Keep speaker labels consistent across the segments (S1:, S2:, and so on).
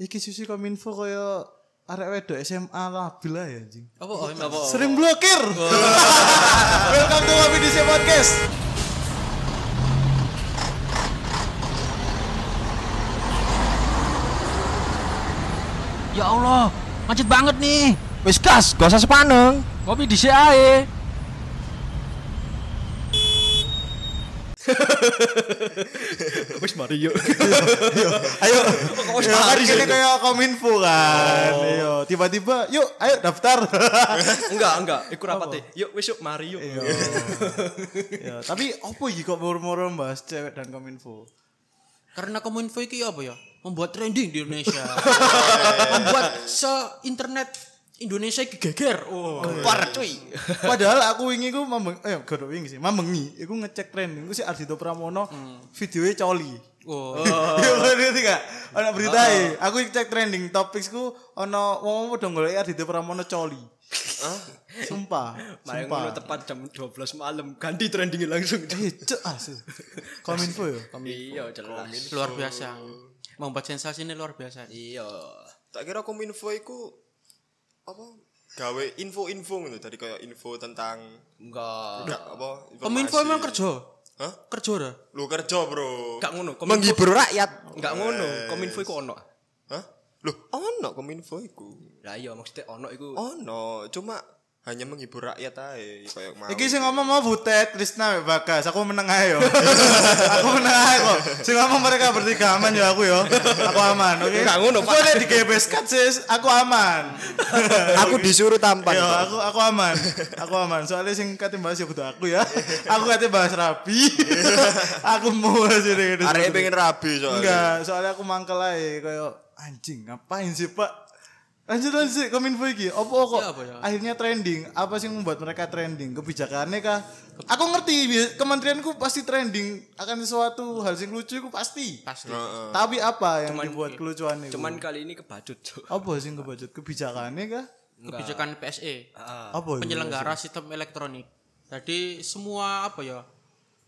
S1: iki sisi kominfo kaya arek wedok SMA labil lah ya anjing.
S2: Apa oh, apa?
S1: Sering blokir. Welcome to Wabi DC Podcast.
S3: Ya Allah, macet banget nih. Wis gas, gak usah sepaneng. Kopi di E. ae.
S4: Wis mari yuk.
S1: Ayo. Ya, kan di sini kaya kominfo kan. Iya, tiba-tiba yuk ayo daftar.
S2: enggak, enggak. Iku rapate. Yuk wis yuk mari yuk.
S1: Iya. Ya, tapi opo iki kok moro-moro bahas cewek dan kominfo?
S2: Karena kominfo iki apa ya? Membuat trending di Indonesia. Membuat se-internet Indonesia iki geger. Oh, gempar cuy.
S1: Padahal aku wingi ku mambeng eh gak wingi sih, mambengi. Iku ngecek trending ku si Ardhito Pramono videonya coli.
S2: Oh.
S1: Iya ngerti gak? Ana berita e, Aku cek trending topicsku ana wong-wong padha golek Ardhito Pramono coli. Sumpah,
S2: Mari ngono
S1: sumpah.
S2: tepat jam 12 malam ganti trendingnya langsung.
S1: Eh, cek asu. Kominfo yo.
S2: Iya, jelas.
S5: luar biasa membuat sensasi ini luar biasa
S2: Iya.
S4: Tak kira kominfo iku apa gawe info-info ngono tadi kayak info tentang
S2: Enggak.
S4: produk apa informasi.
S5: kominfo emang kerja
S4: Hah?
S5: kerja ora
S4: Lu kerja, Bro.
S2: Enggak ngono. Kominfo-
S4: Menghibur rakyat.
S2: Enggak ngono. Kominfo iku ono.
S4: Hah? Loh, ono kominfo iku.
S2: Lah iya maksudnya ono iku.
S4: Oh. Ono, cuma hanya menghibur rakyat ae kayak mau.
S1: Iki sing ngomong mau Butet, Krisna, mbek Bagas. Aku meneng ae yo. aku meneng ae kok. Sing ngomong mereka bertiga aman yo aku yo. Aku aman, oke.
S2: Enggak ngono, Pak.
S1: Aku ada di GBS Cut, sis. Aku aman.
S4: aku disuruh tampan.
S1: Yo, aku aku aman. Aku aman. Soalnya sing kate bahas yo kudu aku ya. Aku kate bahas rapi. aku mau sih ini.
S4: Arek pengen rabi soalnya.
S1: Enggak, soalnya aku mangkel ae kayak anjing ngapain sih, Pak? Lanjut lanjut sih, kominfo iki. Opo kok?
S5: Ya, apa ya?
S1: Akhirnya trending. Apa sih yang membuat mereka trending? Kebijakannya kah? Aku ngerti, bi- kementerianku pasti trending akan sesuatu hal yang lucu iku pasti.
S5: pasti
S4: Eh.
S1: Tapi apa yang
S2: Cuman-
S1: dibuat kelucuan itu?
S2: Cuman kali ini kebajut. Cuk.
S1: apa sih yang kebacut? Kebijakannya kah?
S5: kebijakan PSE
S2: Ah.
S1: Apa itu?
S5: penyelenggara sistem elektronik jadi semua apa ya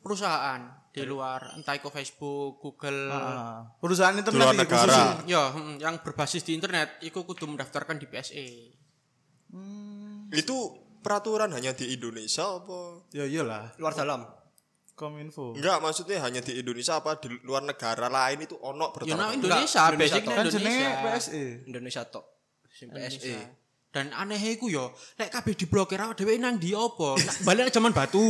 S5: perusahaan di luar entah itu Facebook Google
S1: Ah, perusahaan internet
S4: Luar
S1: iki
S4: negara.
S1: khususnya.
S5: ya hmm, yang berbasis di internet itu kudu mendaftarkan di E. PSE
S4: Itu peraturan hanya di Indonesia apa?
S1: Ya iyalah,
S2: Luar dalam.
S1: kominfo.
S4: Enggak, maksudnya hanya di Indonesia apa di luar negara lain itu ono
S5: ya nah,
S4: peraturan.
S5: Indonesia
S2: Indonesia
S5: basicnya
S2: toh.
S1: Kan jenenge
S5: Indonesia
S1: PSE.
S2: Indonesia tok. Sing E.
S5: Indonesia.
S2: PSE.
S5: dan aneh iku yo lek kabeh diblokir awak dhewe nang ndi apa Nah, balik nang jaman batu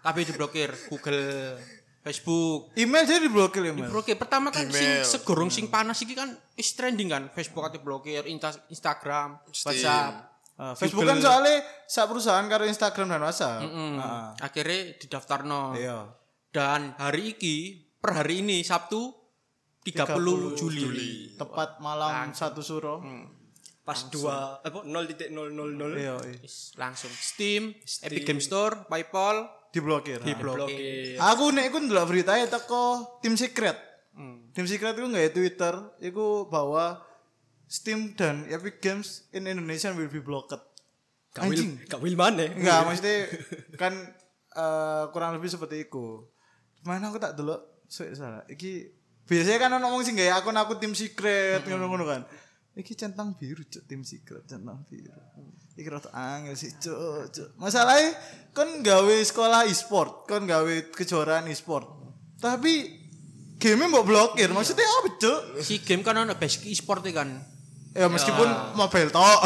S5: kabeh diblokir Google Facebook
S1: Email jadi diblokir ya, Mas.
S5: Diblokir pertama kan
S4: Gmail.
S5: sing segorong sing panas iki kan is trending kan Facebook ate blokir Insta- Instagram WhatsApp
S1: Ah, Facebook kan soalnya sak perusahaan karo Instagram dan WhatsApp.
S5: Mm,
S1: Ah,
S5: akhirnya didaftarno
S1: Iya.
S5: dan hari iki per hari ini Sabtu 30, Juli,
S1: Tepat malam satu suro.
S2: Pas 2 apa 0.000
S1: Iya, iya.
S5: Is, langsung Steam, Epic Game Store, PayPal
S1: Diblokir. Ah.
S5: diblokir.
S1: Aku nek iku ndelok beritanya teko tim secret. Tim secret iku nggak Twitter, iku bahwa Steam dan Epic Games in Indonesia will be blocked. Anjing.
S2: Gak wil maneh.
S1: Enggak, maksudnya kan eh, kurang lebih seperti itu. Mana aku tak delok sik salah. Iki biasanya kan ono wong sing gawe akun aku tim secret ngono-ngono kan. Iki centang biru cuk tim secret centang biru. Iki rada angel sih cuk cuk. Masalahnya kon gawe sekolah e-sport, kon gawe kejuaraan e-sport. Tapi game mbok blokir. Maksudnya apa cuk?
S5: Si game kan ono basic e-sport kan.
S1: Ya meskipun mobile tok.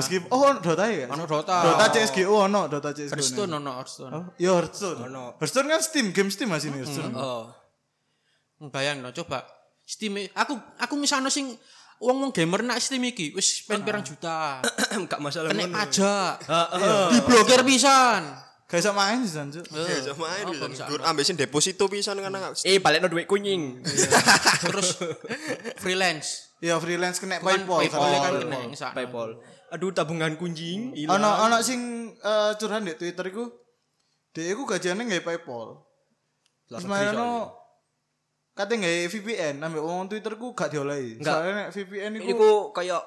S1: meskipun oh ono Dota ya.
S5: Ono Dota.
S1: Dota CS:GO ono Dota CS:GO.
S5: Hearthstone ono Hearthstone.
S1: Oh, ya Hearthstone. Hearthstone kan Steam, game Steam masih ini Hearthstone.
S2: Oh.
S5: Bayang no, Hmm, coba Steam aku aku misalnya sing wong wong gamer nak Steam iki wis pen pirang juta.
S2: Gak masalah
S5: Kena
S2: ngono.
S5: pajak. Diblokir pisan.
S1: Iya. Gak bisa main sih Sanjo.
S4: Ya, sama ae pisan. Gur ambesin deposito pisan kan nang
S2: Eh balikno duit kunying.
S5: Iya. Terus freelance.
S1: Ya freelance kena
S5: Bukan
S1: PayPal.
S5: PayPal
S1: karena-
S5: kan kena yang sakno.
S2: PayPal. Aduh tabungan kunying ilang.
S1: Ono ono sing eh, curhan di Twitter iku. Dia iku gajiane nggak PayPal. Terus mayono kate nggak VPN, ambek wong Twitter ku gak diolehi.
S2: Enggak.
S1: Soalnya nek VPN iku
S2: Iku kayak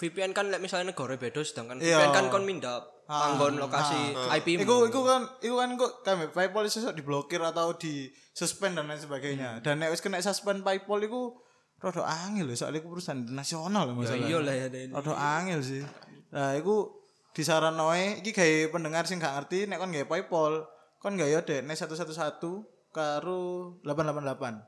S2: VPN kan lek misalnya negara beda sedangkan
S1: Iya. Ah,
S2: VPN kan kon pindah panggon lokasi IP
S1: Iku, iku kan iku kan kok kami PayPal
S2: Hmm.
S1: iso diblokir atau di suspend dan lain sebagainya. Dan nek wis kena suspend PayPal iku Rodok angel lho, soalnya iku perusahaan internasional lho masalah.
S2: iya lah ya, Den.
S1: Rodok angel sih. Nah, iku disaranoe iki gawe pendengar sing gak ngerti nek kon gawe PayPal, kon gawe ya, DNS 111 karo 888.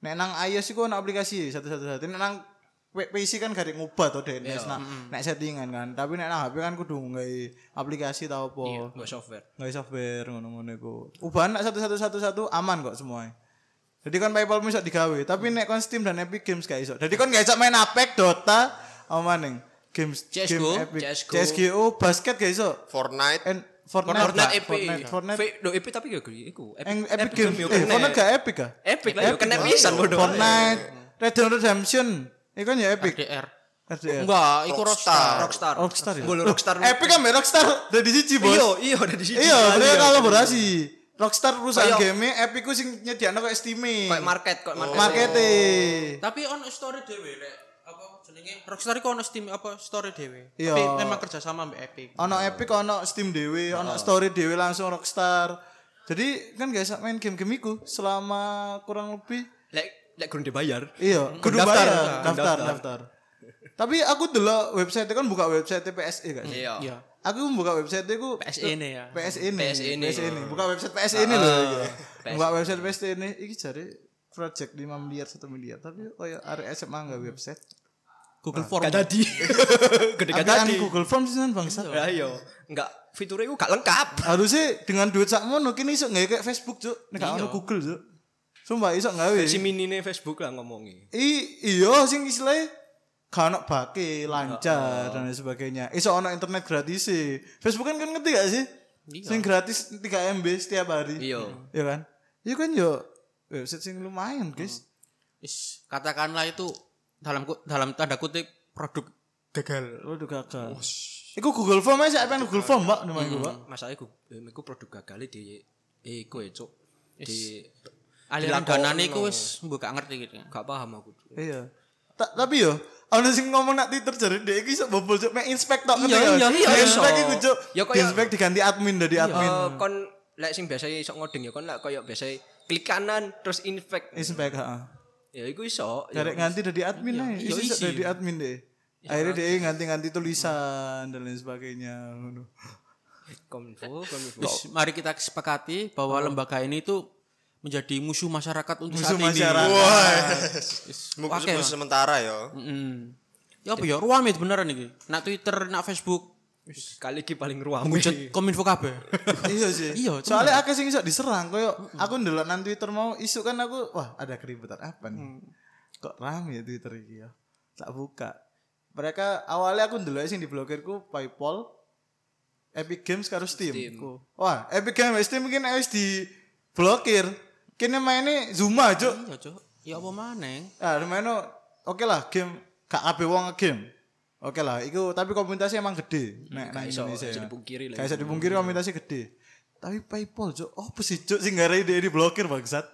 S1: Nek nang iOS iku ana aplikasi 111. Nek nang P- PC kan gak ngubah to
S2: Iya.
S1: DNS nak
S2: Hmm.
S1: nek settingan kan. Tapi nek nang HP kan kudu gawe aplikasi tau apa.
S2: Nggak software.
S1: Nggak software ngono-ngono iku. Ubahan nak 1111 aman kok semuanya. Jadi kan PayPal iso digawe, tapi nek kon Steam dan Epic Games gak iso. Jadi kon gak iso main Apex, Dota, apa maning? Games
S2: CS:GO,
S1: game Epic.
S2: CS:GO.
S1: CS:GO, basket gak iso.
S4: Fortnite
S1: And Fortnite,
S2: Fortnite,
S1: Fortnite,
S2: Epic.
S1: Fortnite, Fortnite,
S2: Fe- Do, Epic tapi gak gue. Iku.
S1: Eng- Epic Games.
S2: Game, yo,
S1: Eh,
S2: kena.
S1: Fortnite gak Epic ah?
S2: Epic Eh, lah. yo, Kena pisan bodoh.
S1: Fortnite, Red Dead Redemption, itu kan ya Epic.
S5: DR.
S1: RDR.
S5: Enggak, iku Rockstar.
S2: Rockstar.
S1: Rockstar ya?
S2: Gue Rockstar.
S1: Epic kan be Rockstar dari siji bos.
S2: Iya, iya udah di sini.
S1: Iya, dia kolaborasi. Rockstar perusahaan
S2: Kayak-
S1: game Epic ku sing nyediakno kayak Steam.
S2: Kayak market, kok market.
S1: Markete.
S5: Tapi ono story dhewe lek apa jenenge Rockstar iku ono Steam apa story dhewe.
S1: Iya.
S5: Tapi memang kerjasama sama Epic.
S1: Ono Epic, ono Steam dewe, ono story dewe langsung Rockstar. Jadi kan gak bisa main game-game iku selama kurang lebih
S2: Lek lek kurang dibayar.
S1: iya, kudu
S2: Daftar,
S1: bayar, daftar,
S2: daftar.
S1: daftar. Tapi aku delok website kan buka website PSE gak sih?
S2: Iya.
S1: Aku buka website ku
S5: PSE ini ya.
S1: PSE ini.
S2: PSE ini.
S1: PSE ini. Buka website PSE ini loh. iki. Buka website PSE ini iki jare project 5 miliar 1 miliar tapi koyo arek SMA enggak website.
S5: Google Form.
S2: Gak tadi. Gede gak
S1: Apaan
S2: tadi.
S1: kan Google Form sih bangsa.
S2: Ya iya. Enggak fiturnya gue gak lengkap.
S1: Harusnya dengan duit sakmono kini iso nggak kayak Facebook cuk, nek gak ono Google cuk. Sumpah iso nggawe.
S2: Si mini nih Facebook lah ngomongi.
S1: I iya sing istilahnya gak ono bake, lancar dan lain sebagainya. Iso ono internet gratis sih. Facebook kan kan ngerti gak sih? Sing gratis 3 MB setiap hari.
S2: Iya.
S1: Iya kan? Iya kan yo website sing lumayan, guys.
S5: Is, katakanlah itu dalam ku- dalam tanda kutip produk gagal.
S1: Waduh gagal. Iku Google Form aja, apa yang Google Form, Mbak? Namanya iku, Mbak.
S2: Masalahnya gue, gue um, produk gagal di Eko ya cuk. Di
S5: Aliran
S2: Dilakoni,
S5: danane
S2: no.
S5: iku wis mbok gak ngerti gitu.
S2: gak paham aku. Cuk.
S4: Eh,
S1: Iya. Ta- tapi yo, ono sing ngomong nak Twitter jare dhek iki iso bobol cuk mek inspect tok
S2: Iya,
S1: ngerti
S2: iya,
S1: gak?
S2: iya,
S1: Di
S2: iya.
S1: Inspect iku cuk.
S2: Ya, kaya-
S1: Di inspect diganti admin dari admin.
S2: Eh, kon lek sing biasa iso ngoding ya kon lek koyo biasa klik kanan terus infect.
S4: Eh.
S1: Inspect heeh.
S2: Ya iku iso.
S5: Iya,
S2: ya.
S1: Karek nganti dari admin ae. Iso iso dari admin deh.
S5: kan?
S1: Akhirnya dia nganti-nganti tulisan dan lain sebagainya. ngono.
S2: Kominfo, kominfo.
S5: Wis, mari kita sepakati bahwa
S2: Hmm.
S5: lembaga ini itu menjadi musuh masyarakat untuk
S1: Musuh
S5: saat ini.
S1: masyarakat.
S5: Oke,
S4: musuh sementara ya.
S5: Mm. Ya apa ya ruame beneran iki. Nak Twitter, nak Facebook,
S2: Kali iki paling ruam.
S5: muncul kominfo kabeh.
S1: iya sih.
S5: Iya,
S1: Soalnya aku sing iso diserang koyo aku ndelok nang Twitter mau isu kan aku wah ada keributan apa nih.
S5: Mm.
S1: Kok rame ya Twitter iki ya. Tak buka. Mereka awalnya aku ndelok sing diblokirku PayPal, Epic Games karo Steam. Ku- Wah, Epic Games sama Steam mungkin harus diblokir. Kini mainnya Zuma, Cuk.
S5: Iya, Cuk. Ya apa maneng?
S1: Ah, Romano, oke lah game gak kabeh wong game. Oke lah, iku tapi komunitasnya emang gede. Nek nang
S2: iso-
S1: Indonesia.
S2: iso
S1: ya.
S2: dipungkiri lah
S1: Gak iso dipungkiri komunitasnya gede. Tapi PayPal, Cuk. Oh, sih, Cuk, sing gara ide diblokir bangsat.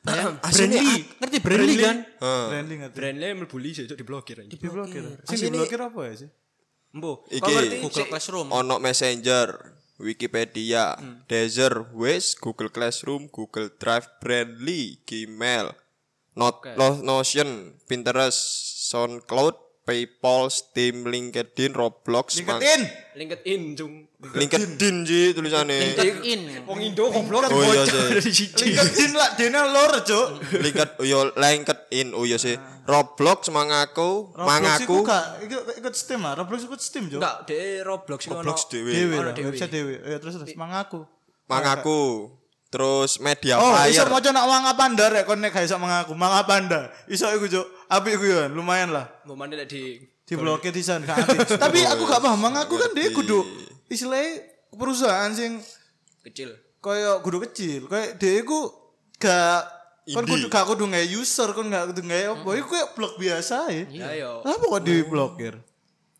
S5: Brandly, ah, ngerti Brandly kan?
S1: ah, Brandly ngerti.
S2: Brandnya mlebu lise cuk diblokir aja.
S1: Diblokir. Sing diblokir apa ya sih?
S2: Embo.
S4: Iki
S5: Google Classroom.
S4: ono Messenger, Wikipedia,
S1: Hmm.
S4: Desert, Waze, Google Classroom, Google Drive, Brandly, Gmail, Not Lo- Notion, Pinterest, SoundCloud, PayPal, Steam, LinkedIn, Roblox, Mang-
S1: LinkedIn.
S2: LinkedIn cung.
S4: LinkedIn sih tulisannya.
S5: LinkedIn.
S2: Wong Indo goblok
S4: Oh iya sih.
S2: dari siji.
S1: LinkedIn lah dene lor, Cuk.
S4: Linked yo oh LinkedIn oh iya sih. Roblox mangaku,
S1: Ah. Roblox iku
S4: mangaku.
S1: gak ikut ikut Steam ah. Roblox ikut Steam, Cuk.
S2: Enggak, de Roblox sing ono.
S4: Roblox
S1: Dewe
S4: dhewe.
S1: lah, website dewe. Ya terus terus mangaku.
S4: Mangaku. Terus media
S1: Oh, iso
S4: player.
S1: maca nak manga panda rek kon nek gak iso mangaku. Manga panda. Iso iku, Cuk. Apik iku ya, lumayan lah.
S2: Mau mandi lek di
S1: diblokir di sana gak aktif. tapi aku gak paham mang aku kan dia kudu istilahnya perusahaan sing
S2: kecil.
S1: koyo kudu kecil koyo dia iku gak kon kudu gak kudu nggak user kon gak kudu nggak apa iku kayak blog biasa ya
S2: Ya yo.
S1: lah kok diblokir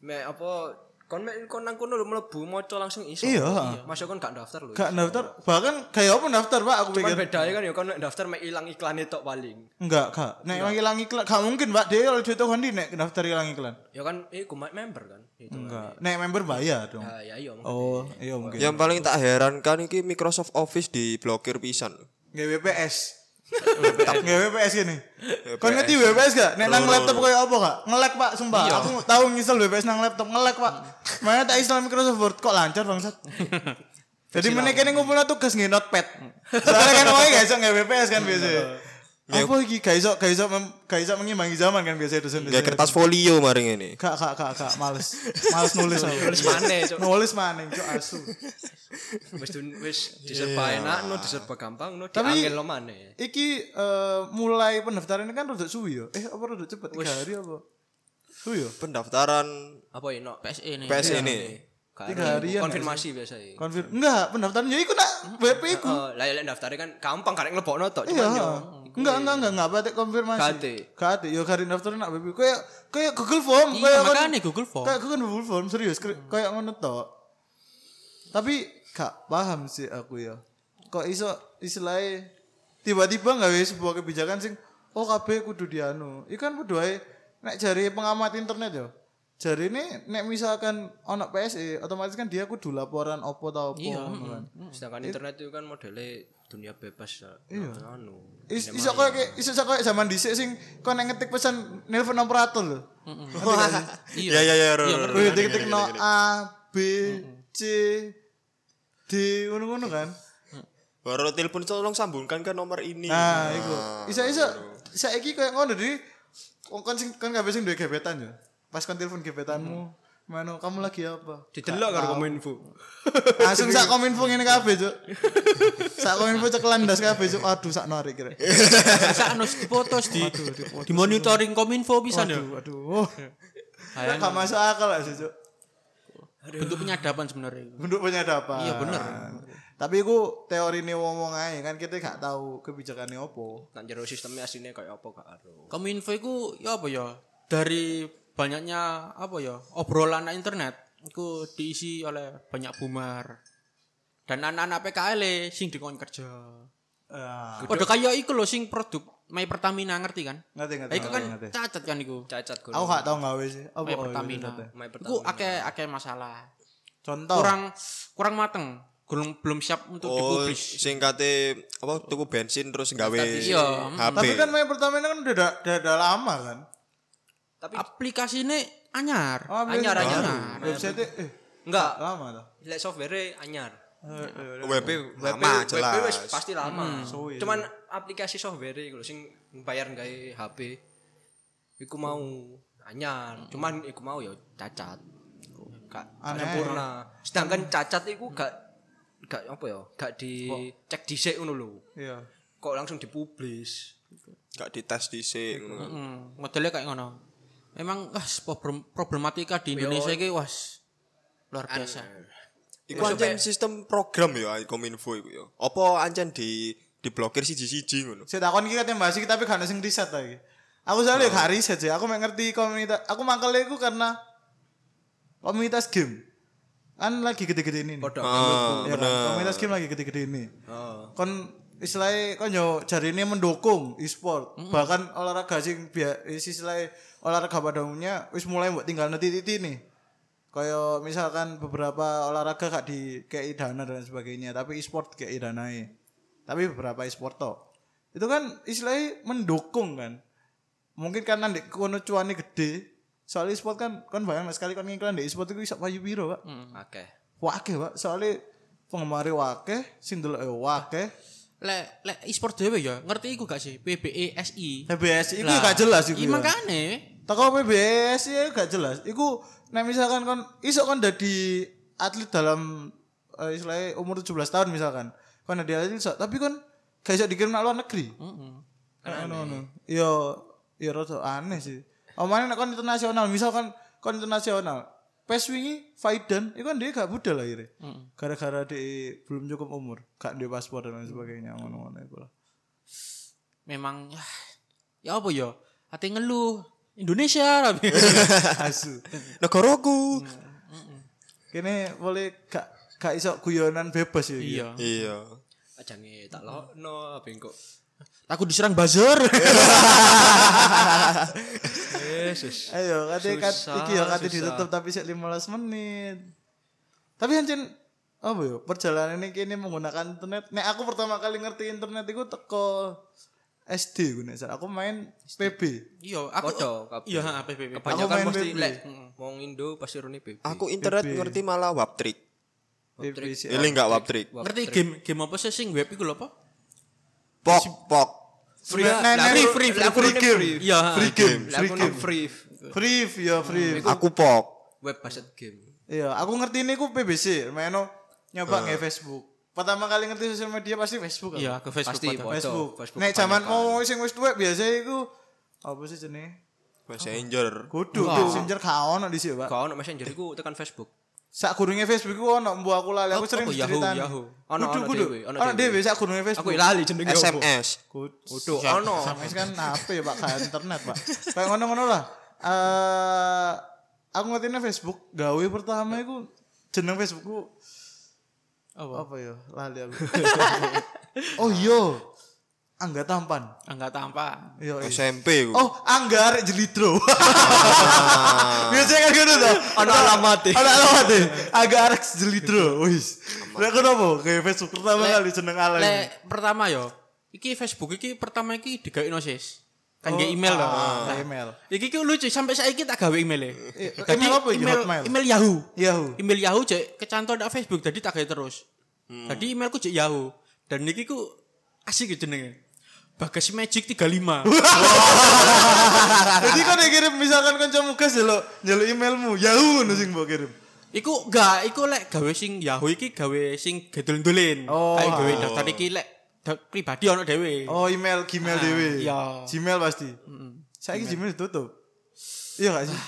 S2: Mek apa kon mek kon nang kono lho mlebu maca langsung iso.
S1: Iya.
S2: Masa kon gak daftar lho.
S1: gak daftar bahkan kayak apa daftar pak aku
S2: Iya. Cuman
S1: pikir
S2: bedanya kan ya kon nek daftar mek ilang iklane tok paling.
S1: enggak kak nek emang ilang iklan gak mungkin pak dia oleh duit tuh nek daftar ilang iklan
S2: Ya kan eh ku member kan. Itu.
S1: enggak nek member bayar dong
S2: Ah, ya iya.
S1: oh iya mungkin
S4: Yang paling tak herankan iki Microsoft Office diblokir pisan.
S1: nggak WPS Tak nge WPS gini. Kon ngerti WPS gak? Nek nang laptop koyo apa gak? Ngelek Pak, sumpah. Aku tahu ngisel WPS nang laptop ngelek Pak. Mana tak install Microsoft Word kok lancar bangsat. Jadi meneh kene ngumpulno tugas nge notepad. Soalnya kan wae gak iso nge WPS kan biasanya. Apa iki gak iso gak iso mem- gak iso mengimbangi zaman kan biasanya dosen-dosen.
S4: Gak kertas folio maring ini.
S1: Kak, kak, kak, kak, males. Males nulis aku.
S2: Nulis maneh, Cok.
S1: Nulis maneh, cok asu.
S2: Wis dun- wis diserba enak no diserba gampang no
S1: Tapi-
S2: diangel lo maneh.
S1: Iki eh, mulai pendaftaran ini kan rodok suwi yo. Eh, apa rodok cepet? Tiga hari apa? Suwi yo.
S4: Pendaftaran
S2: Apa ya no?
S5: PSE ini.
S4: PS ini.
S1: Tiga harian,
S2: konfirmasi biasa ya.
S1: Konfir. Enggak, pendaftaran ya iku nak WP iku.
S2: Oh, lah lek daftar kan gampang karek ngelebokno tok
S1: Iya.
S2: cuman yo.
S1: Enggak, enggak, enggak, enggak batik konfirmasi.
S2: Gak ate.
S1: Gak ate. Yo garin daftar nak WP. Kayak kayak Google Form,
S5: Iya,
S1: kayak
S5: makanya Google Form.
S1: Kayak Google Google Form kan serius kri- kayak ngono tok. Tapi gak paham sih aku ya. Kok iso istilahnya tiba-tiba nggak wis sebuah kebijakan sing oh kabeh kudu dianu. Iku kan kudu ae nek jari pengamat internet yo. Jari ini nek misalkan ono PSE otomatis kan dia kudu laporan opo tau opo ngono kan.
S2: Sedangkan internet itu kan modelnya dunia bebas. Iya. Anu.
S1: Is, iso koyo kayak iso koyo zaman dhisik sing kon nek ngetik pesan nelpon operator lho.
S4: Iya iya iya.
S1: Kuwi ngetik no A B C D ngono-ngono kan.
S4: Baru telepon tolong sambungkan ke nomor ini.
S1: Nah,
S5: Ah,
S1: iku. Iso-iso saiki koyo ngono di wong kon sing kon kabeh sing duwe gebetan yo. Pas kon telepon gebetanmu,
S5: Hmm.
S1: mano kamu lagi apa?
S2: Didelok karo kominfo.
S1: Langsung sak kominfo ngene kabeh, Cuk. Sak kominfo cekelan das kabeh, Cuk. Aduh, sak narik kira.
S5: Bisa anu fotos di di monitoring Kominfo bisa ya.
S1: Aduh, aduh. Gak masuk akal lah, sih, Cuk.
S5: Bentuk penyadapan sebenarnya. itu.
S1: bentuk penyadapan.
S5: Iya, bener.
S1: Tapi iku teori ini ngomong aja kan kita gak tahu kebijakannya opo.
S2: Nak jero sistemnya aslinya kayak apa gak ero.
S5: Kominfo itu ya apa ya? Dari banyaknya apa ya? Obrolan anak internet itu diisi oleh banyak boomer. Dan anak-anak PKL eh, sing dikon kerja.
S1: Ah,
S5: Padha kaya iku lho sing produk My Pertamina ngerti kan?
S1: ngerti ngerti.
S5: Lah iku kan
S1: Iya, ngerti. Iya,
S5: cacat kan iku.
S2: Cacat gue.
S1: Aku gak tahu gawe sih. Apa
S5: My
S1: oh,
S5: Pertamina.
S1: iya, iya.
S2: My
S5: Iku
S2: Pertamina.
S5: akeh akeh masalah.
S1: Contoh.
S5: Kurang kurang mateng. Belum belum siap untuk
S4: Oh,
S5: dipublish.
S4: singkatnya apa tuku bensin terus gawe
S5: Iya, mm.
S4: HP.
S1: Tapi kan main Pertamina kan udah da- udah, udah lama kan.
S2: Tapi
S5: Aplikasi ini anyar.
S1: Oh, aplikasi
S2: Anyar, Nah,
S1: baru.
S2: anyar.
S1: Website eh
S2: enggak
S1: lama toh.
S2: lek software anyar.
S1: Eh, eh, eh.
S4: WP lama
S2: Web wis
S4: jelas.
S2: pasti lama.
S1: Suwi.
S2: Cuman aplikasi software iku lho sing bayar gawe HP. Iku mau anyar. Cuman iku mau ya cacat. Gak gak
S1: Aneh.
S2: sempurna. Sedangkan cacat iku gak gak apa ya? Gak dicek dhisik ngono lho.
S1: Iya.
S2: Kok langsung dipublis.
S4: Gak dites dhisik ngono.
S5: Hmm, modelnya kayak ngono. Emang wah, problem- problematika di Indonesia iki was luar
S1: Anu.
S5: biasa.
S4: Iku ancen sistem program ya Kominfo iku ya. Apa ancen di diblokir siji-siji ngono.
S1: Saya takon iki katanya bahas iki tapi gak ada sing riset lagi. Aku soalnya gak riset sih. Aku mek ngerti komunitas. Aku mangkelnya iku karena komunitas game. Kan lagi gede-gede ini. nih.
S2: Padha
S1: Ya kan? Komunitas game lagi gede-gede ini. Kon istilahnya kon yo jari ini mendukung e-sport. Bahkan olahraga sing bia- is- istilahnya olahraga pada umumnya wis mulai mbok tinggal nanti titik nih. Kayak misalkan beberapa olahraga gak di KI dana dan sebagainya, tapi e-sport KI danai. Tapi beberapa e-sport tok. Itu kan istilahnya mendukung kan. Mungkin karena di kono cuannya gede. Soalnya e-sport kan kan bayang nek sekali kan ngiklan di e-sport itu bisa payu piro,
S2: Mm.
S1: Pak
S2: Akeh.
S1: wakeh pak soalnya penggemar wakeh sing delok wakeh
S5: Lek lek e-sport dhewe ya, ngerti iku gak sih? PBESI.
S1: PBSI itu
S5: Lah,
S1: gak jelas iku
S5: Iya
S1: ya.
S5: makane.
S1: Teko PBSI ya gak jelas iku nek misalkan kon iso kon dadi atlet dalam eh, istilahnya umur 17 tahun misalkan kon dadi atlet iso tapi kon gak iso dikirim nang luar negeri Heeh. Ngono ngono. Yo yo rada aneh sih. Omane nek kon internasional, misalkan kon internasional. Pes wingi Faidan iku kan dia gak budal akhirnya. Gara-gara dia belum cukup umur, gak duwe paspor dan lain sebagainya ngono-ngono iku lah.
S5: Memang ah, ya apa ya? Ate ngeluh Indonesia rabi.
S1: Asu.
S4: Negaraku.
S1: Kene boleh gak gak iso guyonan bebas ya. iki.
S5: iya.
S4: Iya.
S2: Ajange tak lokno ben kok.
S5: Aku diserang buzzer.
S2: Yesus.
S1: Ayo, kate kat
S2: Susah,
S1: iki ya kate
S2: susah.
S1: ditutup tapi sik 15 menit. Tapi hancen apa ya perjalanan ini kini menggunakan internet. Nek aku pertama kali ngerti internet itu teko SD gue nek salah. Aku main PB.
S5: Iya, aku
S2: Podo, kabeh.
S5: Iya, ha, PBB.
S2: Kebanyakan
S1: main
S2: mesti
S1: BB.
S2: lek wong Indo pasti rene BB.
S4: Aku internet ngerti malah wap trick.
S1: PB sih.
S4: Ini enggak wap trick.
S5: Ngerti game game apa sih sing web iku lho, apa?
S4: Pok pok.
S1: Free,
S5: Nah, free, free, free,
S1: free
S5: free.
S1: game.
S5: Iya, ha.
S1: Free game,
S2: Lah
S1: free
S2: aku
S1: game.
S2: nang free
S1: Free, ya free.
S4: Aku pok.
S2: web based game.
S1: Iya, aku ngerti ini ku PBC, maino nyoba nge Facebook. Pertama kali ngerti sosial media pasti Facebook. aku.
S5: Iya, ke Facebook.
S2: Pasti,
S5: Podo.
S2: Podo.
S1: Facebook.
S2: Facebook
S1: Nek zaman
S2: kebanyakan.
S1: mau sing wis tuwek biasa iku apa sih jenenge?
S4: Messenger.
S1: Kudu Messenger gak ono di sini, Pak.
S2: Kau ono messenger iku tekan Facebook.
S1: Sak gurunge Facebook ku ono mbu aku lali, aku
S5: Apa-
S1: sering
S5: apa Yahoo,
S1: diceritani.
S5: Yahoo?
S2: Ono,
S1: Kudu
S2: ono
S1: kudu.
S2: dhewe, ono
S1: Ono
S2: dhewe.
S1: dhewe sak gurunge Facebook.
S2: Aku lali jenenge apa?
S4: SMS.
S1: Kudu
S2: ono.
S1: SMS kan HP ya, Pak, gak internet, Pak. Kayak ngono-ngono lah. Eh aku ngertinya Facebook gawe pertama iku jeneng Facebookku
S5: Apa?
S1: apa ya? Lali aku. oh iya. Angga tampan.
S5: Angga tampan.
S1: Iya, iya.
S4: SMP ku.
S1: Oh, anggar jelitro. Biasanya kan gitu tuh. Ada alamat Ada alamat deh. Agak arek jelitro. Wis. Lek kenapa? Kayak Facebook pertama
S5: Lek-
S1: kali jeneng ala.
S5: Lek pertama yo. Iki Facebook iki pertama iki digawe nosis.
S1: Oh,
S5: Kan nggih email lah. Nah,
S1: email.
S5: Iki ki lucu sampai saiki tak gawe email e.
S1: Eh, email apa iki?
S5: email,
S1: Hotmail?
S5: email Yahoo.
S1: Yahoo.
S5: Email Yahoo cek kecantol ndak Facebook jadi tak gawe terus.
S1: Hmm.
S5: Jadi emailku cek Yahoo dan niki ku asik ya jenenge. Bagas Magic 35.
S1: Jadi kan kirim misalkan kancamu gas ya lo, njaluk emailmu. Yahoo ngono sing mbok kirim.
S5: Iku enggak, iku lek gawe sing Yahoo iki gawe sing gedul-dulin.
S1: Oh.
S5: Kayak gawe daftar iki lek da- pribadi ono dhewe.
S1: Oh, email Gmail
S5: Ah,
S1: dhewe.
S5: iya.
S1: Gmail pasti. Saiki Gmail ditutup. Iya gak sih?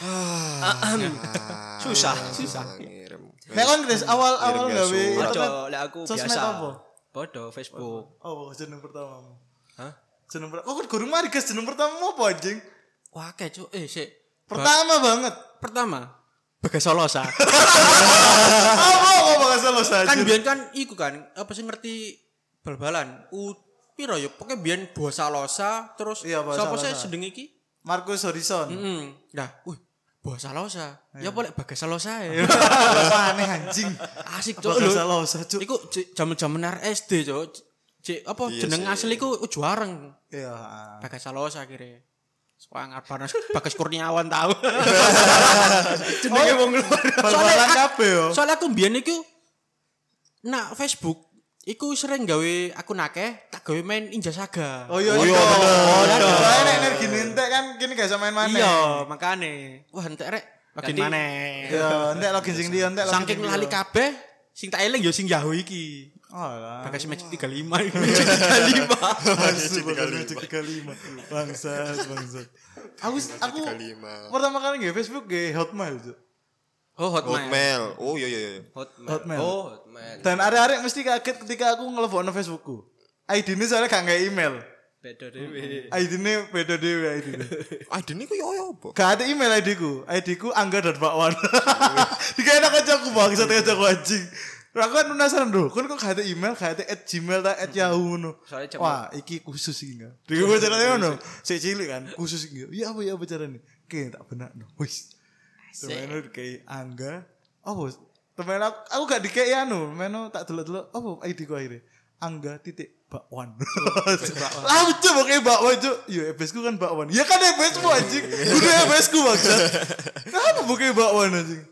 S2: Susah.
S5: Susah.
S4: Ah, Ngirim.
S1: Nek kon Chris awal-awal
S4: Kirim
S1: gawe
S4: gak
S2: Podo
S1: internet.
S2: lek aku
S1: Sosmed
S2: biasa.
S1: apa?
S2: Podo Facebook.
S1: Oh, jeneng pertamamu.
S2: Hah?
S1: Jeneng pertama. Kok gurung mari gas jeneng pertamamu apa anjing?
S5: Wah, kayak cuk, eh sik. Ba-
S1: Pertama banget.
S5: pertama Bagas Solosa.
S1: Apa kok Oh, bahasa lo saja?
S5: kan biyen kan iku kan apa sih ngerti bal-balan. U piro ya pokoke biyen bosa losa terus
S1: Iya, bosa
S5: sapa sih
S1: losa.
S5: sedeng iki?
S1: Markus Horizon.
S5: Heeh. Nah, wih, bosa losa. Ya boleh Bagas Solosa. ya.
S1: Apa aneh anjing?
S5: Asik cuk.
S1: Bahasa
S5: lho.
S1: lo saja.
S5: Iku jaman-jaman SD, Cuk. Cek apa
S4: Iya
S5: jeneng
S4: sih.
S5: asli ku juareng.
S1: Iya.
S5: Bagas Salos akhirnya. Soalnya ngapain Bagas Kurniawan tahu.
S1: Jenenge wong luar. Oh, Bal-balan
S5: Soalnya- ah,
S1: kabeh yo.
S5: Soalnya aku mbiyen iku nak Facebook iku sering gawe aku nakeh tak gawe main Inja Saga.
S1: Oh iya.
S4: Oh
S1: iya.
S4: iya, bener.
S1: Soalnya nek energi nintek kan kini gak bisa main-main.
S5: Iya, makane. Wah, entek rek. Lagi
S2: Jadi-
S5: mana?
S1: Iya, entek login sing dia, entek login.
S5: Saking
S1: sing
S5: lali
S1: liya.
S5: kabeh sing tak eling ya sing Yahoo iki.
S1: Oh lah.
S5: Bagas Magic 35 iku. Magic 35.
S1: Asu, Bagas Magic 35. Bangsat, bangsat. Aku aku
S4: 35.
S1: pertama kali nge Facebook nge Hotmail tuh.
S5: Oh, Hotmail.
S4: Hotmail. Oh iya iya iya.
S2: Hotmail.
S1: Hotmail.
S2: Oh, Hotmail.
S1: Dan arek-arek mesti kaget ketika aku ngelebokno Facebookku. ID ini soalnya gak nge email.
S2: Beda dhewe.
S1: ID ini beda dhewe ID ini.
S4: Aiden iku yo yo ya, apa?
S1: Gak ada email ID ku. ID ku Angga dan Bakwan. Dikira enak aja aku bang, satu aja aku anjing. Lah aku kan penasaran dulu, kan kok gak ada email, gak ada at gmail, tak at yahoo no.
S2: Soalnya
S1: Wah,
S2: cuma-
S1: iki khusus iki enggak. Dikira gue caranya no, saya cilik kan, khusus iki. Iya apa ya apa caranya? Oke, tak benar no. Wis. Temen aku kayak Angga, apa? Temen aku, aku gak dikei anu, temen aku tak delok-delok, apa ID ku akhirnya? Angga titik bakwan. Lah lucu pokoknya bakwan cuk. Yo EBS ku kan bakwan. Ya kan EBS mu anjing. Kudu EBS ku maksud. Kenapa pokoknya bakwan anjing?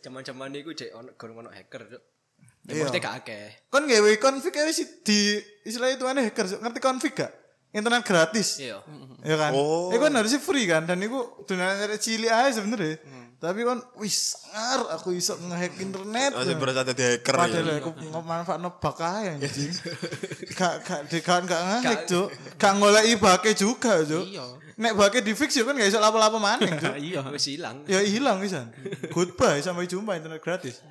S2: Zaman-zaman iku cek ono gorong ono hacker, Cuk.
S1: Iya.
S2: Ya mesti gak akeh.
S1: Kon gawe konfig ae sih di istilah itu aneh hacker Cuk. ngerti konfig gak? Internet gratis.
S2: Iya.
S1: Ya kan?
S4: Oh.
S1: Iku kan harusnya free kan dan iku dunia dari cilik aja sebenernya.
S4: Hmm.
S1: Tapi kon wis ngar aku iso ngehack internet.
S4: Masih Nah, berasa di hacker ya.
S1: Padahal aku manfaatnya bak aja anjing. Gak gak de- gak gak ngehack Cuk. Gak ngoleki bake juga Cuk.
S5: Iya.
S1: Nek bake di fix ya kan gak iso lapo-lapo maning Cuk.
S5: Ah, Iya.
S2: Wis ilang.
S1: ya hilang pisan. Goodbye sampai jumpa internet gratis.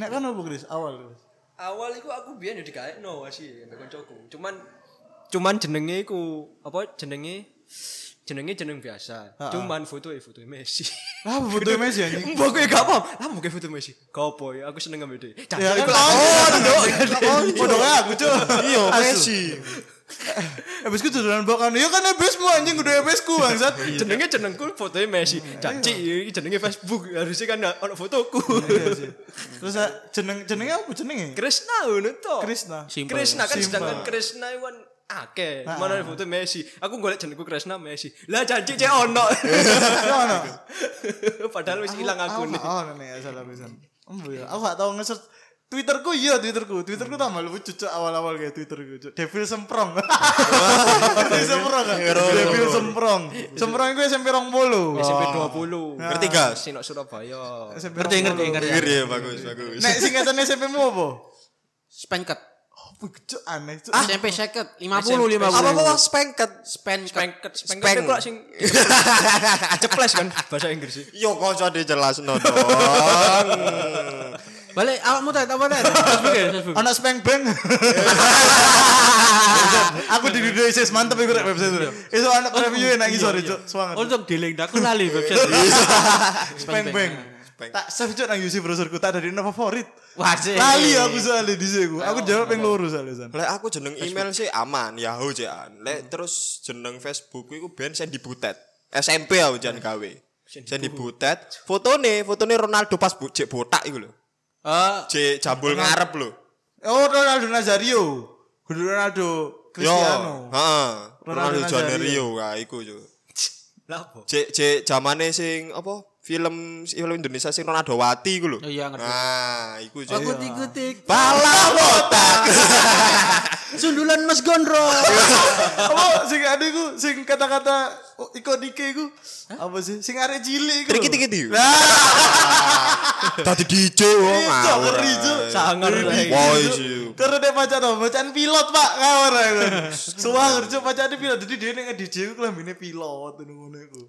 S1: Nek kan apa Chris awal Chris?
S2: awal iku aku biyen yo digaekno sih ambek kancaku. Cuman cuman jenenge iku apa jenenge jenenge jeneng biasa.
S1: Ha-ha.
S2: Cuman foto foto Messi.
S1: Lah apa butuh Messi anjing.
S2: Mbok kowe gak apa? Lah mbok foto Messi. Kopo ya aku seneng ambek dhek.
S1: Ya
S2: Cah,
S1: kan oh, ndok. Podo kayak aku cuy. Iya,
S4: Messi.
S1: Eh besku dodolan bokan. Ya kan ebesmu anjing udah ebesku bangsat.
S2: jenenge jenengku foto Messi. Caci iki jenenge Facebook. Harusnya kan ono fotoku.
S1: Iya sih. Terus ah, jeneng jenenge apa jenenge?
S2: Krishna ngono to.
S1: Krishna.
S5: Simple.
S2: Krishna kan
S1: Simple.
S2: sedangkan Krishna iwan kan akeh. Mana ada foto Messi. Aku golek jenengku Kresna Messi. Lah janji cek ono.
S1: Yo ono.
S2: Padahal wis ilang aku nih.
S1: Oh, ono nek salah pisan. Embo ya. Aku gak tau nge-search Twitterku iya Twitterku. Twitterku tambah lucu cuk awal-awal kayak Twitterku cuk. Devil semprong. Devil semprong. kan? Devil semprong. Semprong iku SMP 20.
S2: SMP 20.
S4: Ngerti gak?
S2: Sinok Ah, Surabaya.
S1: SMP
S5: Ngerti, ngerti,
S1: 20.
S5: ngerti.
S4: Iya, bagus, bagus.
S1: Nek singkatan SMP mu apa?
S5: Spenket.
S1: Apa cuk aneh cuk.
S5: SMP seket. 50, 50.
S4: Apa apa spengket?
S5: Spenket.
S2: Spengket, spengket
S4: Speng.
S2: itu lah sing ceples kan bahasa Inggris sih.
S4: Yo kanca dijelas no dong.
S5: Balik awakmu tet apa tet?
S1: Anak speng beng. Aku di video ISIS mantep iku rek website itu. Itu anak review enak iki sore cuk. Suanget.
S5: Untuk dealing aku lali website.
S1: Speng beng. Tak save cuk nang UC browserku tak dari nama favorit.
S5: Wajib.
S1: Lali aku soalnya di situ. Aku jawab yang lurus soalnya san.
S4: Lek aku jeneng email sih aman, Yahoo jekan. Lek terus jeneng Facebook ku iku ben sen dibutet. SMP aku jan gawe. Sen dibutet. Fotone, fotone Ronaldo pas bu, jek botak iku lho.
S5: Eh,
S4: Jek jambul ngarep lho.
S1: Oh Ronaldo Nazario. Ronaldo
S4: Yo.
S1: Cristiano.
S4: Heeh.
S1: Ronaldo
S4: Ronaldo
S1: Nazario.
S4: Janario ka iku yo.
S2: Lah apa?
S4: Jek jek zamane sing apa? Film film Indonesia sing Ronaldo Wati iku lho.
S5: Oh, iya, ngerti.
S4: Nah, iku jek.
S5: aku tik-tik.
S4: Pala botak.
S5: Sundulan Mas Gondrong.
S1: Apa sing ada iku sing kata-kata oh, ikonike iku. Apa sih? Sing arek cilik iku. lho.
S4: Triki-triki. Tadi DJ wong
S1: Ijo,
S4: ngawur.
S1: ngeri, Iya, Cuk.
S2: Sangar lah.
S4: Wah, ijo.
S1: Terus dia pacar dong, bacaan pilot pak, ngawur aku. Semua kerja pacarnya pilot, jadi dia nih nge-DJ aku kelambinnya pilot, ngono aku.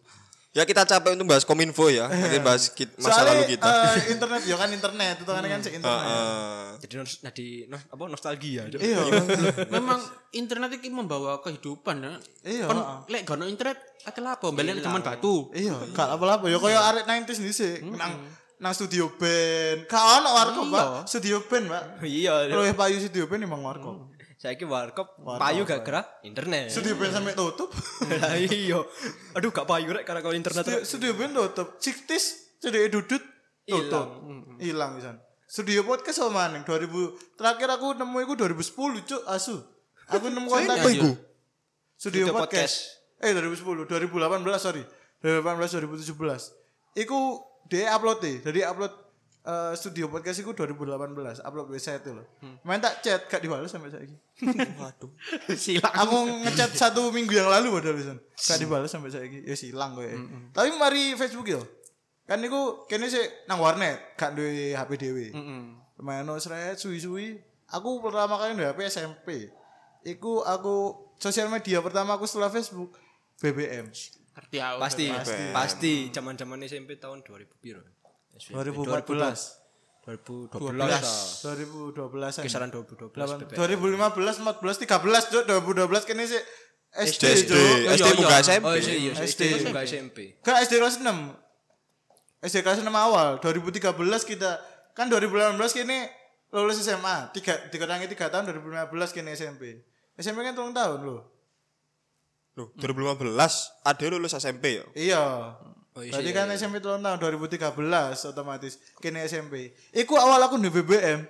S4: Ya kita capek untuk bahas kominfo ya. Nanti bahas kit- masa lalu
S1: Soalnya
S4: kita. Hmm.
S1: eh, internet, ya kan internet, itu kan kan sih internet.
S4: Heeh.
S2: Jadi nos- jadi nos- apa nostalgia. Cuk.
S1: Iya,
S5: Memang internet iki membawa kehidupan ya.
S1: Iya.
S5: Kon lek gak ono internet adalah apa? Belen cuman batu.
S1: iya, gak apa-apa, ya kaya arek 90s nih sih, nang nang studio band, gak ono warko pak, studio band pak.
S2: Iya.
S1: Loh ya payu studio band emang warko.
S2: Saya ki warkop payu gak gerak internet.
S1: Studio band sampai tutup,
S2: Lah iya. Aduh gak payu rek karena kalau internet.
S1: Studio- studio band tutup, ciktis, studio dudut, tutup, hilang pisan. Studio podcast sama maning 2000 terakhir aku nemu iku 2010 cuk asu. Aku nemu kontak
S5: Apa iku?
S1: Studio
S2: Studio
S1: podcast. Eh 2010, 2018 sorry. 2018 2017. Iku dia upload deh. Jadi upload eh, studio podcast iku 2018 upload website itu loh.
S5: Hmm.
S1: Main tak chat gak dibales sampai saiki.
S5: Silang.
S1: Aku ngechat satu minggu yang lalu padahal pisan. Gak dibales sampai saiki. Ya silang kowe. Tapi mari Facebook yo. Kan niku kene sik nang warnet, gak duwe HP dhewe. Main no sret suwi-suwi. Aku pertama kali nduwe HP SMP. Iku aku sosial media pertama aku setelah Facebook BBM.
S5: Ngerti aku.
S2: Pasti pasti zaman-zaman SMP tahun 2000 piro.
S1: 2014.
S2: 2012.
S1: 2012 an
S2: Kisaran
S1: 2015, 14,
S2: 2012.
S1: 13 Cuk. 2012 kene sih SD
S4: SD,
S1: Cuk.
S4: SD muka SMP.
S2: Oh iya iya SD
S1: SD.
S2: juga SMP.
S1: Kan SD kelas 6. SD kelas 6 awal 2013 kita kan 2018 kini lulus SMA. Tiga dikurangi 3 tahun 2015 kini SMP. SMP kan tolong tahun loh.
S4: Loh, 2015 ada lulus SMP ya.
S1: Iya.
S2: Oh, iya,
S1: Berarti
S2: iya,
S1: kan SMP tolong tahun 2013 otomatis kini SMP. Iku awal aku di BBM.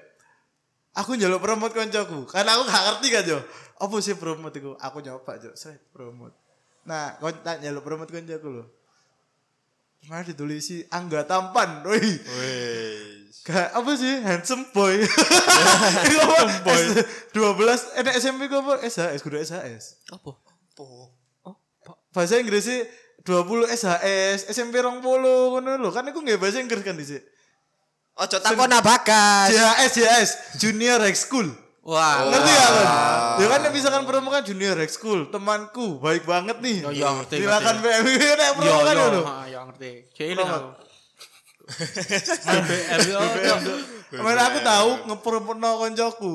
S1: Aku njaluk promote koncoku karena aku gak ngerti kan Jo. Apa sih promote iku? Aku nyoba Jo, sret promote. Nah, kon tak njaluk promote koncoku lho. Mana ditulisi angga tampan, wih.
S4: Wes.
S1: Gak, apa sih? Handsome boy. Handsome boy. 12, enak SMP gue apa? SHS, guru SHS.
S5: Apa?
S1: Oh. Bahasa Inggris sih 20 SHS, SMP rong polo, ngono lho. Kan aku nggak bahasa Inggris kan di sini.
S4: Ojo takon nabakas.
S1: JHS, JHS, Junior High School.
S5: Wah.
S1: Ngerti gak kan? Ya kan yang bisa kan promo kan Junior High School. Temanku, baik banget nih.
S5: Yo, yo, Oh, iya, ngerti, Iya,
S1: Silakan PMI, enak
S5: Yo
S1: promo kan
S5: yo,
S1: lho.
S5: ha, yo ngerti. Cilik aku.
S1: Mana Iya. aku tahu ngepromono koncoku.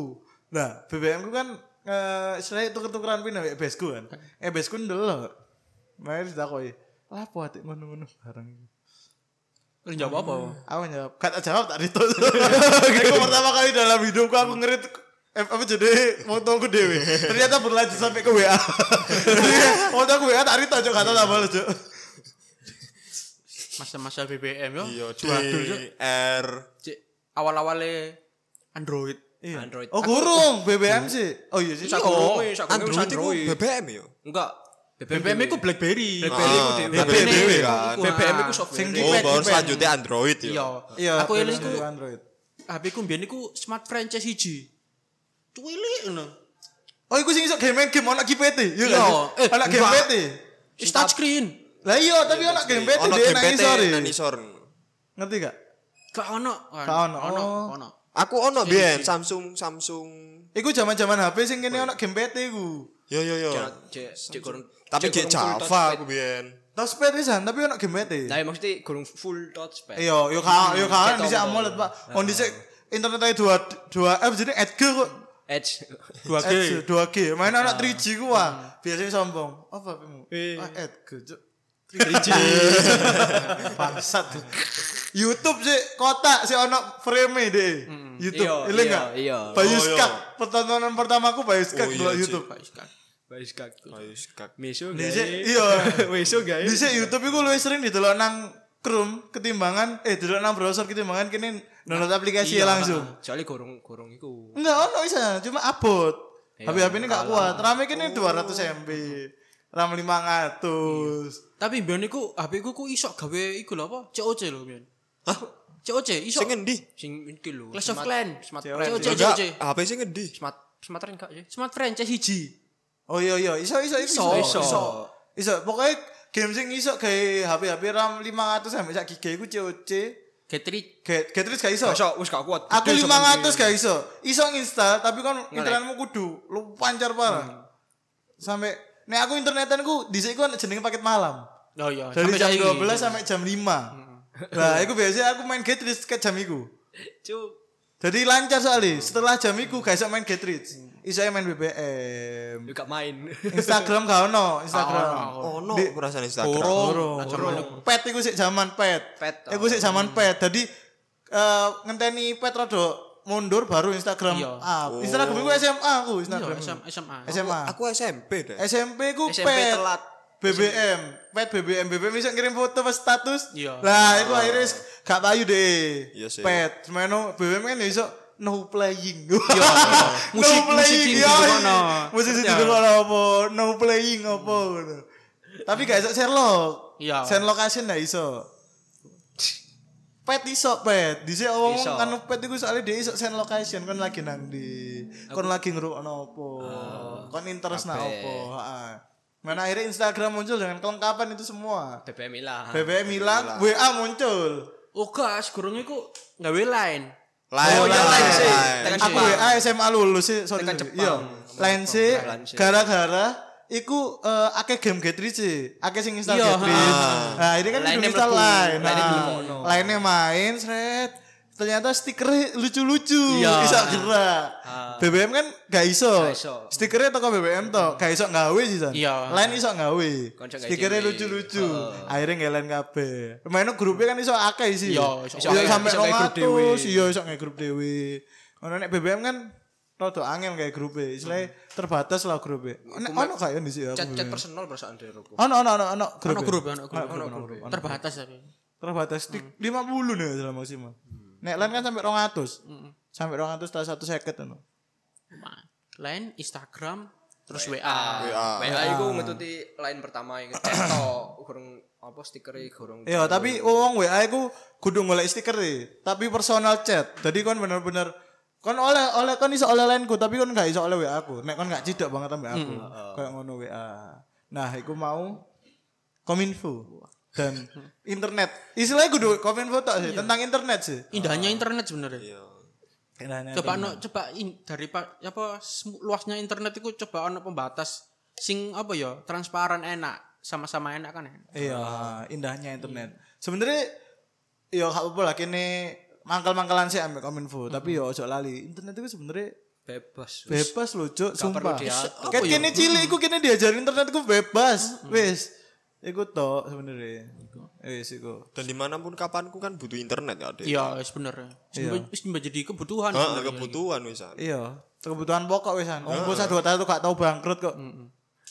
S1: Nah, BBM ku kan eh selain tuker-tukeran pin ambek besku kan. Eh besku ndelok. Mari ditakoki. Lah apa atik ngono-ngono bareng. iki?"
S5: Terus jawab apa?
S1: Aku jawab, kata jawab tak itu. Aku pertama kali dalam hidupku aku ngerit eh, apa jadi motoku dewe. Ternyata berlanjut sampai ke WA. Jadi moto aku WA tak rito cok kata tak bales cok.
S5: Masa-masa BBM yo.
S4: Iya, D
S5: Waduh, Cuk.
S4: R
S5: Cik, awal-awalnya Android.
S1: Iya.
S2: Android.
S1: Oh,
S2: Aku-
S1: gurung BBM sih. Oh iya sih.
S2: Iya.
S5: Gurung,
S2: Android, sak gurung
S4: Android itu
S2: Android.
S4: BBM yo.
S2: Enggak.
S5: BBM itu BlackBerry.
S1: Iya.
S2: BlackBerry
S4: Ah,
S2: ku dhewe.
S4: BlackBerry dhewe kan.
S2: BBM
S5: Nah,
S2: iku software.
S1: Sing di-
S4: Oh,
S1: Depend,
S4: baru
S1: depend.
S4: selanjutnya Android yo.
S5: Iya.
S1: Iya.
S5: Aku
S1: BBM
S5: eling ku
S1: juga Android.
S5: HP ku mbiyen iku smart franchise hiji. Cuwilik ngono.
S1: Oh, iku sing iso game game anak GPT. Iya.
S5: Iya.
S1: kan?
S5: Eh,
S1: Anak game
S5: enggak.
S1: PT.
S5: Wis touch screen.
S1: Lah iya, tapi anak game PT
S4: Ono
S1: dia
S4: GPT
S1: nangis sorry.
S4: nang isor.
S1: Ngerti gak?
S5: Gak ono.
S1: Gak ono.
S5: Ono. Ono.
S4: Aku ono biyen Samsung Samsung.
S1: Iku zaman-zaman HP sing kene anak game PT iku.
S4: Yo yo yo.
S2: Cek- cek- cek gurung-
S4: Tapi
S2: Iya. cek gurung full
S4: cek Java
S2: touchpad.
S4: aku biyen.
S1: Touchpad pisan, tapi anak game PT.
S2: Nah, maksudnya gurung full touchpad.
S1: Iya, yo kan, yo kan
S2: Cetok,
S1: dhisik
S2: toh.
S1: AMOLED, Pak. On dhisik internet ae 2 2 eh jadi edge kok.
S2: Edge.
S5: 2G.
S1: Edge 2G. Main
S2: Ah.
S1: anak 3G ku wah, biasanya sombong. Apa pimu?
S2: Eh.
S1: Ah, edge cuk. 3G. Bangsat. YouTube sih kotak sih ono frame deh. YouTube,
S2: Iya,
S1: eling
S2: iya,
S1: enggak?
S2: iya.
S1: Bayuskak. Pertontonan pertamaku Bayuskak
S4: Oh, iya,
S1: dulu
S4: Cik.
S1: YouTube.
S5: kan.
S2: Wis kaku.
S4: Ayo sekak.
S2: Meso guys.
S1: Dhisik iya.
S2: Meso guys.
S1: Dhisik YouTube iku luwih sering didelok nang Chrome ketimbang eh didelok nang browser ketimbang kene download aplikasi
S2: Iya.
S1: langsung.
S2: Soalnya gurung gurung iku.
S1: Enggak ono bisa, cuma abot.
S2: Iya, Oh.
S1: HP-HP ini gak kuat. Rame kene 200 MB. RAM 500.
S5: Tapi mbiyen iku HP ku ku iso gawe iku lho apa? COC lho mbiyen.
S4: Hah?
S5: COC iso.
S4: Sing endi?
S2: Sing iki lho.
S5: Clash of
S2: smart-
S5: Clans.
S2: Smart
S1: Cewek.
S2: franchise.
S5: COC
S4: Enggak,
S5: COC.
S4: HP sing endi?
S2: Smart smart ring gak sih?
S5: Smart franchise hiji.
S1: Oh iya iya, iso iso iso.
S2: iso.
S1: Iso. Pokoknya game sing iso kayak HP-HP RAM 500 sampai sak giga iku COC.
S5: G3
S1: Ge- Getrix gak iso.
S2: Iso wis gak kuat.
S1: Aku
S2: Gede
S1: 500
S2: sampe-
S1: gak iso. Iso nginstal tapi kan internetmu kudu lu pancar
S2: Hmm.
S1: parah. Sampai nek aku internetanku dhisik ku ana jenenge paket malam.
S5: Oh iya,
S1: Dari jam
S5: saiki.
S1: 12 sampai jam 5.
S2: Hmm.
S1: Nah, itu biasanya aku main Getrich ke jam iku.
S2: Cuk.
S1: Jadi lancar sekali. Setelah jam iku gak iso main Getrich. Iso ae main BBM.
S2: Yo gak main.
S1: Instagram gak ono, Instagram.
S2: Oh,
S4: Ono
S1: Di-
S4: aku rasane Instagram.
S1: Loro. Pet iku sik jaman pet.
S2: Pet, oh.
S1: Iku sik jaman pet. Jadi eh, ngenteni pet rada mundur baru Instagram
S5: Iya.
S1: up. Instagram
S2: Oh.
S1: iku SMA aku, Instagram.
S5: Iya, SM- SMA.
S1: SMA.
S4: Aku SMP deh.
S1: SMP ku
S2: SMP
S1: pet.
S2: telat.
S1: BBM, pet BBM, BBM bisa ngirim foto pas status.
S5: Iya.
S1: Lah, itu akhirnya s- gak payu deh.
S4: Iya sih.
S1: Pet, semeno BBM kan ya iso no playing.
S5: Iya, Musik-
S1: no playing.
S5: musik
S1: iya.
S5: didurungno.
S1: Musik sing
S5: Iya.
S1: apa? No playing apa ngono. Tapi gak iso Sherlock.
S5: Iya.
S1: Sherlock asin gak iso. Pet iso pet. Dhisik wong
S2: Iso.
S1: anu pet iku soalnya dia iso send location kon lagi nang di kon lagi ngrungokno apa.
S5: Oh.
S1: kon interest nang
S2: kabeh.
S1: apa. Heeh. Mana akhirnya Instagram muncul dengan kelengkapan itu semua.
S2: BBM ilang.
S1: BBM hilang, WA muncul.
S5: Oh gas, gurung iku gawe line.
S4: Lain
S1: yang Oh,
S4: lain,
S1: iya, lain sih.
S4: lain.
S2: Tekan
S1: Aku ya,
S2: Jepang.
S1: WA SMA lulus sih, sorry.
S2: Tekan
S1: sorry.
S2: Jepang.
S1: Iya. Lain sih,
S2: Lain sih.
S1: gara-gara iku eh, akeh game Getrich sih, akeh sing install
S5: Iya,
S1: Getrich. Nah, ini kan
S2: Lainnya
S1: kudu install
S2: mlebu,
S1: lain.
S2: lainnya
S1: Nah,
S2: dilebokno.
S1: Lainnya main, sret. Ternyata stikernya lucu-lucu,
S5: Iya.
S1: bisa gerak. BBM kan gak iso.
S2: Gak iso.
S1: Stikernya toko BBM to, gak iso gawe sih san.
S5: Iya.
S1: Lain iso gawe.
S2: Konco gak
S1: Stikernya
S2: dhewe.
S1: lucu-lucu.
S2: Heeh.
S1: Akhirnya ngelen kabeh. Mainnya grupnya kan iso akeh sih.
S5: Iya, iso
S1: Iya,
S2: akeh.
S1: sampai
S2: Iso kayak grup
S1: 200, iya iso nge grup dewe. Ono nek BBM kan rada angel kayak grup e. Istilahnya terbatas lah grup e. Nek ono gak ya dhisik aku.
S2: Chat-chat personal perasaan diriku.
S1: Ono ono ono ono grup.
S5: Ono
S1: e.
S5: grup, ya, ono grup,
S1: Ono grup. ono grup.
S5: Terbatas tapi.
S1: Terbatas di 50 nih ya, dalam maksimal.
S5: Hmm.
S1: Nek lain kan sampai 200. Sampai 200 tak 150 ono.
S5: Line, Instagram, terus WA.
S4: WA.
S2: WA Ah, iku ngetuti line pertama yang ngecek tok gurung apa stiker gurung.
S1: Iya, tapi wong WA iku kudu golek stiker e, tapi personal chat. Jadi kon bener-bener kon oleh oleh kon iso oleh lainku, tapi kon gak iso oleh WA aku. Nek kon gak cidak banget ambek aku. Kayak ngono WA. Nah, iku mau Kominfo dan internet. Istilahnya kudu Kominfo tok sih, tentang internet sih.
S5: Indahnya internet sebenarnya.
S1: Internet.
S5: coba no, coba in, dari pa- apa semu- luasnya internet itu coba ono pembatas sing apa ya transparan enak sama-sama enak kan enak.
S1: Iya, indahnya internet. Sebenarnya yo gak apa-apa lah kene mangkal-mangkalan sih ambek Kominfo, tapi yo ojo lali. Internet itu sebenarnya
S2: bebas.
S1: bebas loh cuk
S2: perlu
S1: sumpah
S2: diatur. Oh, iya.
S1: kan kini cilik iku kini diajarin internet iku bebas wis iku tok sebenarnya wis iku
S4: Dan dimanapun kapanku kan butuh internet ya, Dek.
S5: Iya sebenarnya. Iya. menjadi kebutuhan.
S4: Heeh,
S5: sebenarnya.
S4: kebutuhan wisan.
S1: iya kebutuhan pokok wisan
S2: Oh.
S1: wong pulsa
S2: Iya,
S1: dua tahu gak tau bangkrut kok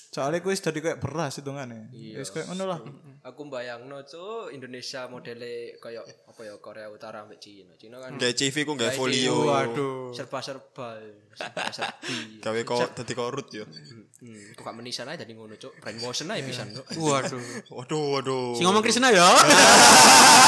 S1: soalnya kuis jadi kayak beras hitungannya wis kayak ngono lah
S2: aku bayangno cuk Indonesia modele koyo apa ya Korea Utara ambek Cina. Cina kan
S4: Gak CV ku
S2: Gawe
S4: gak
S2: CV.
S4: folio.
S1: Waduh.
S2: serba-serba, serba-serbi.
S4: Gawe kok dadi korut yo.
S2: Hmm, kok gak menisan aja jadi ngono cuk. Brainwashing aja pisan cuk.
S5: Waduh.
S4: Waduh, waduh.
S5: Si ngomong Krisna ya.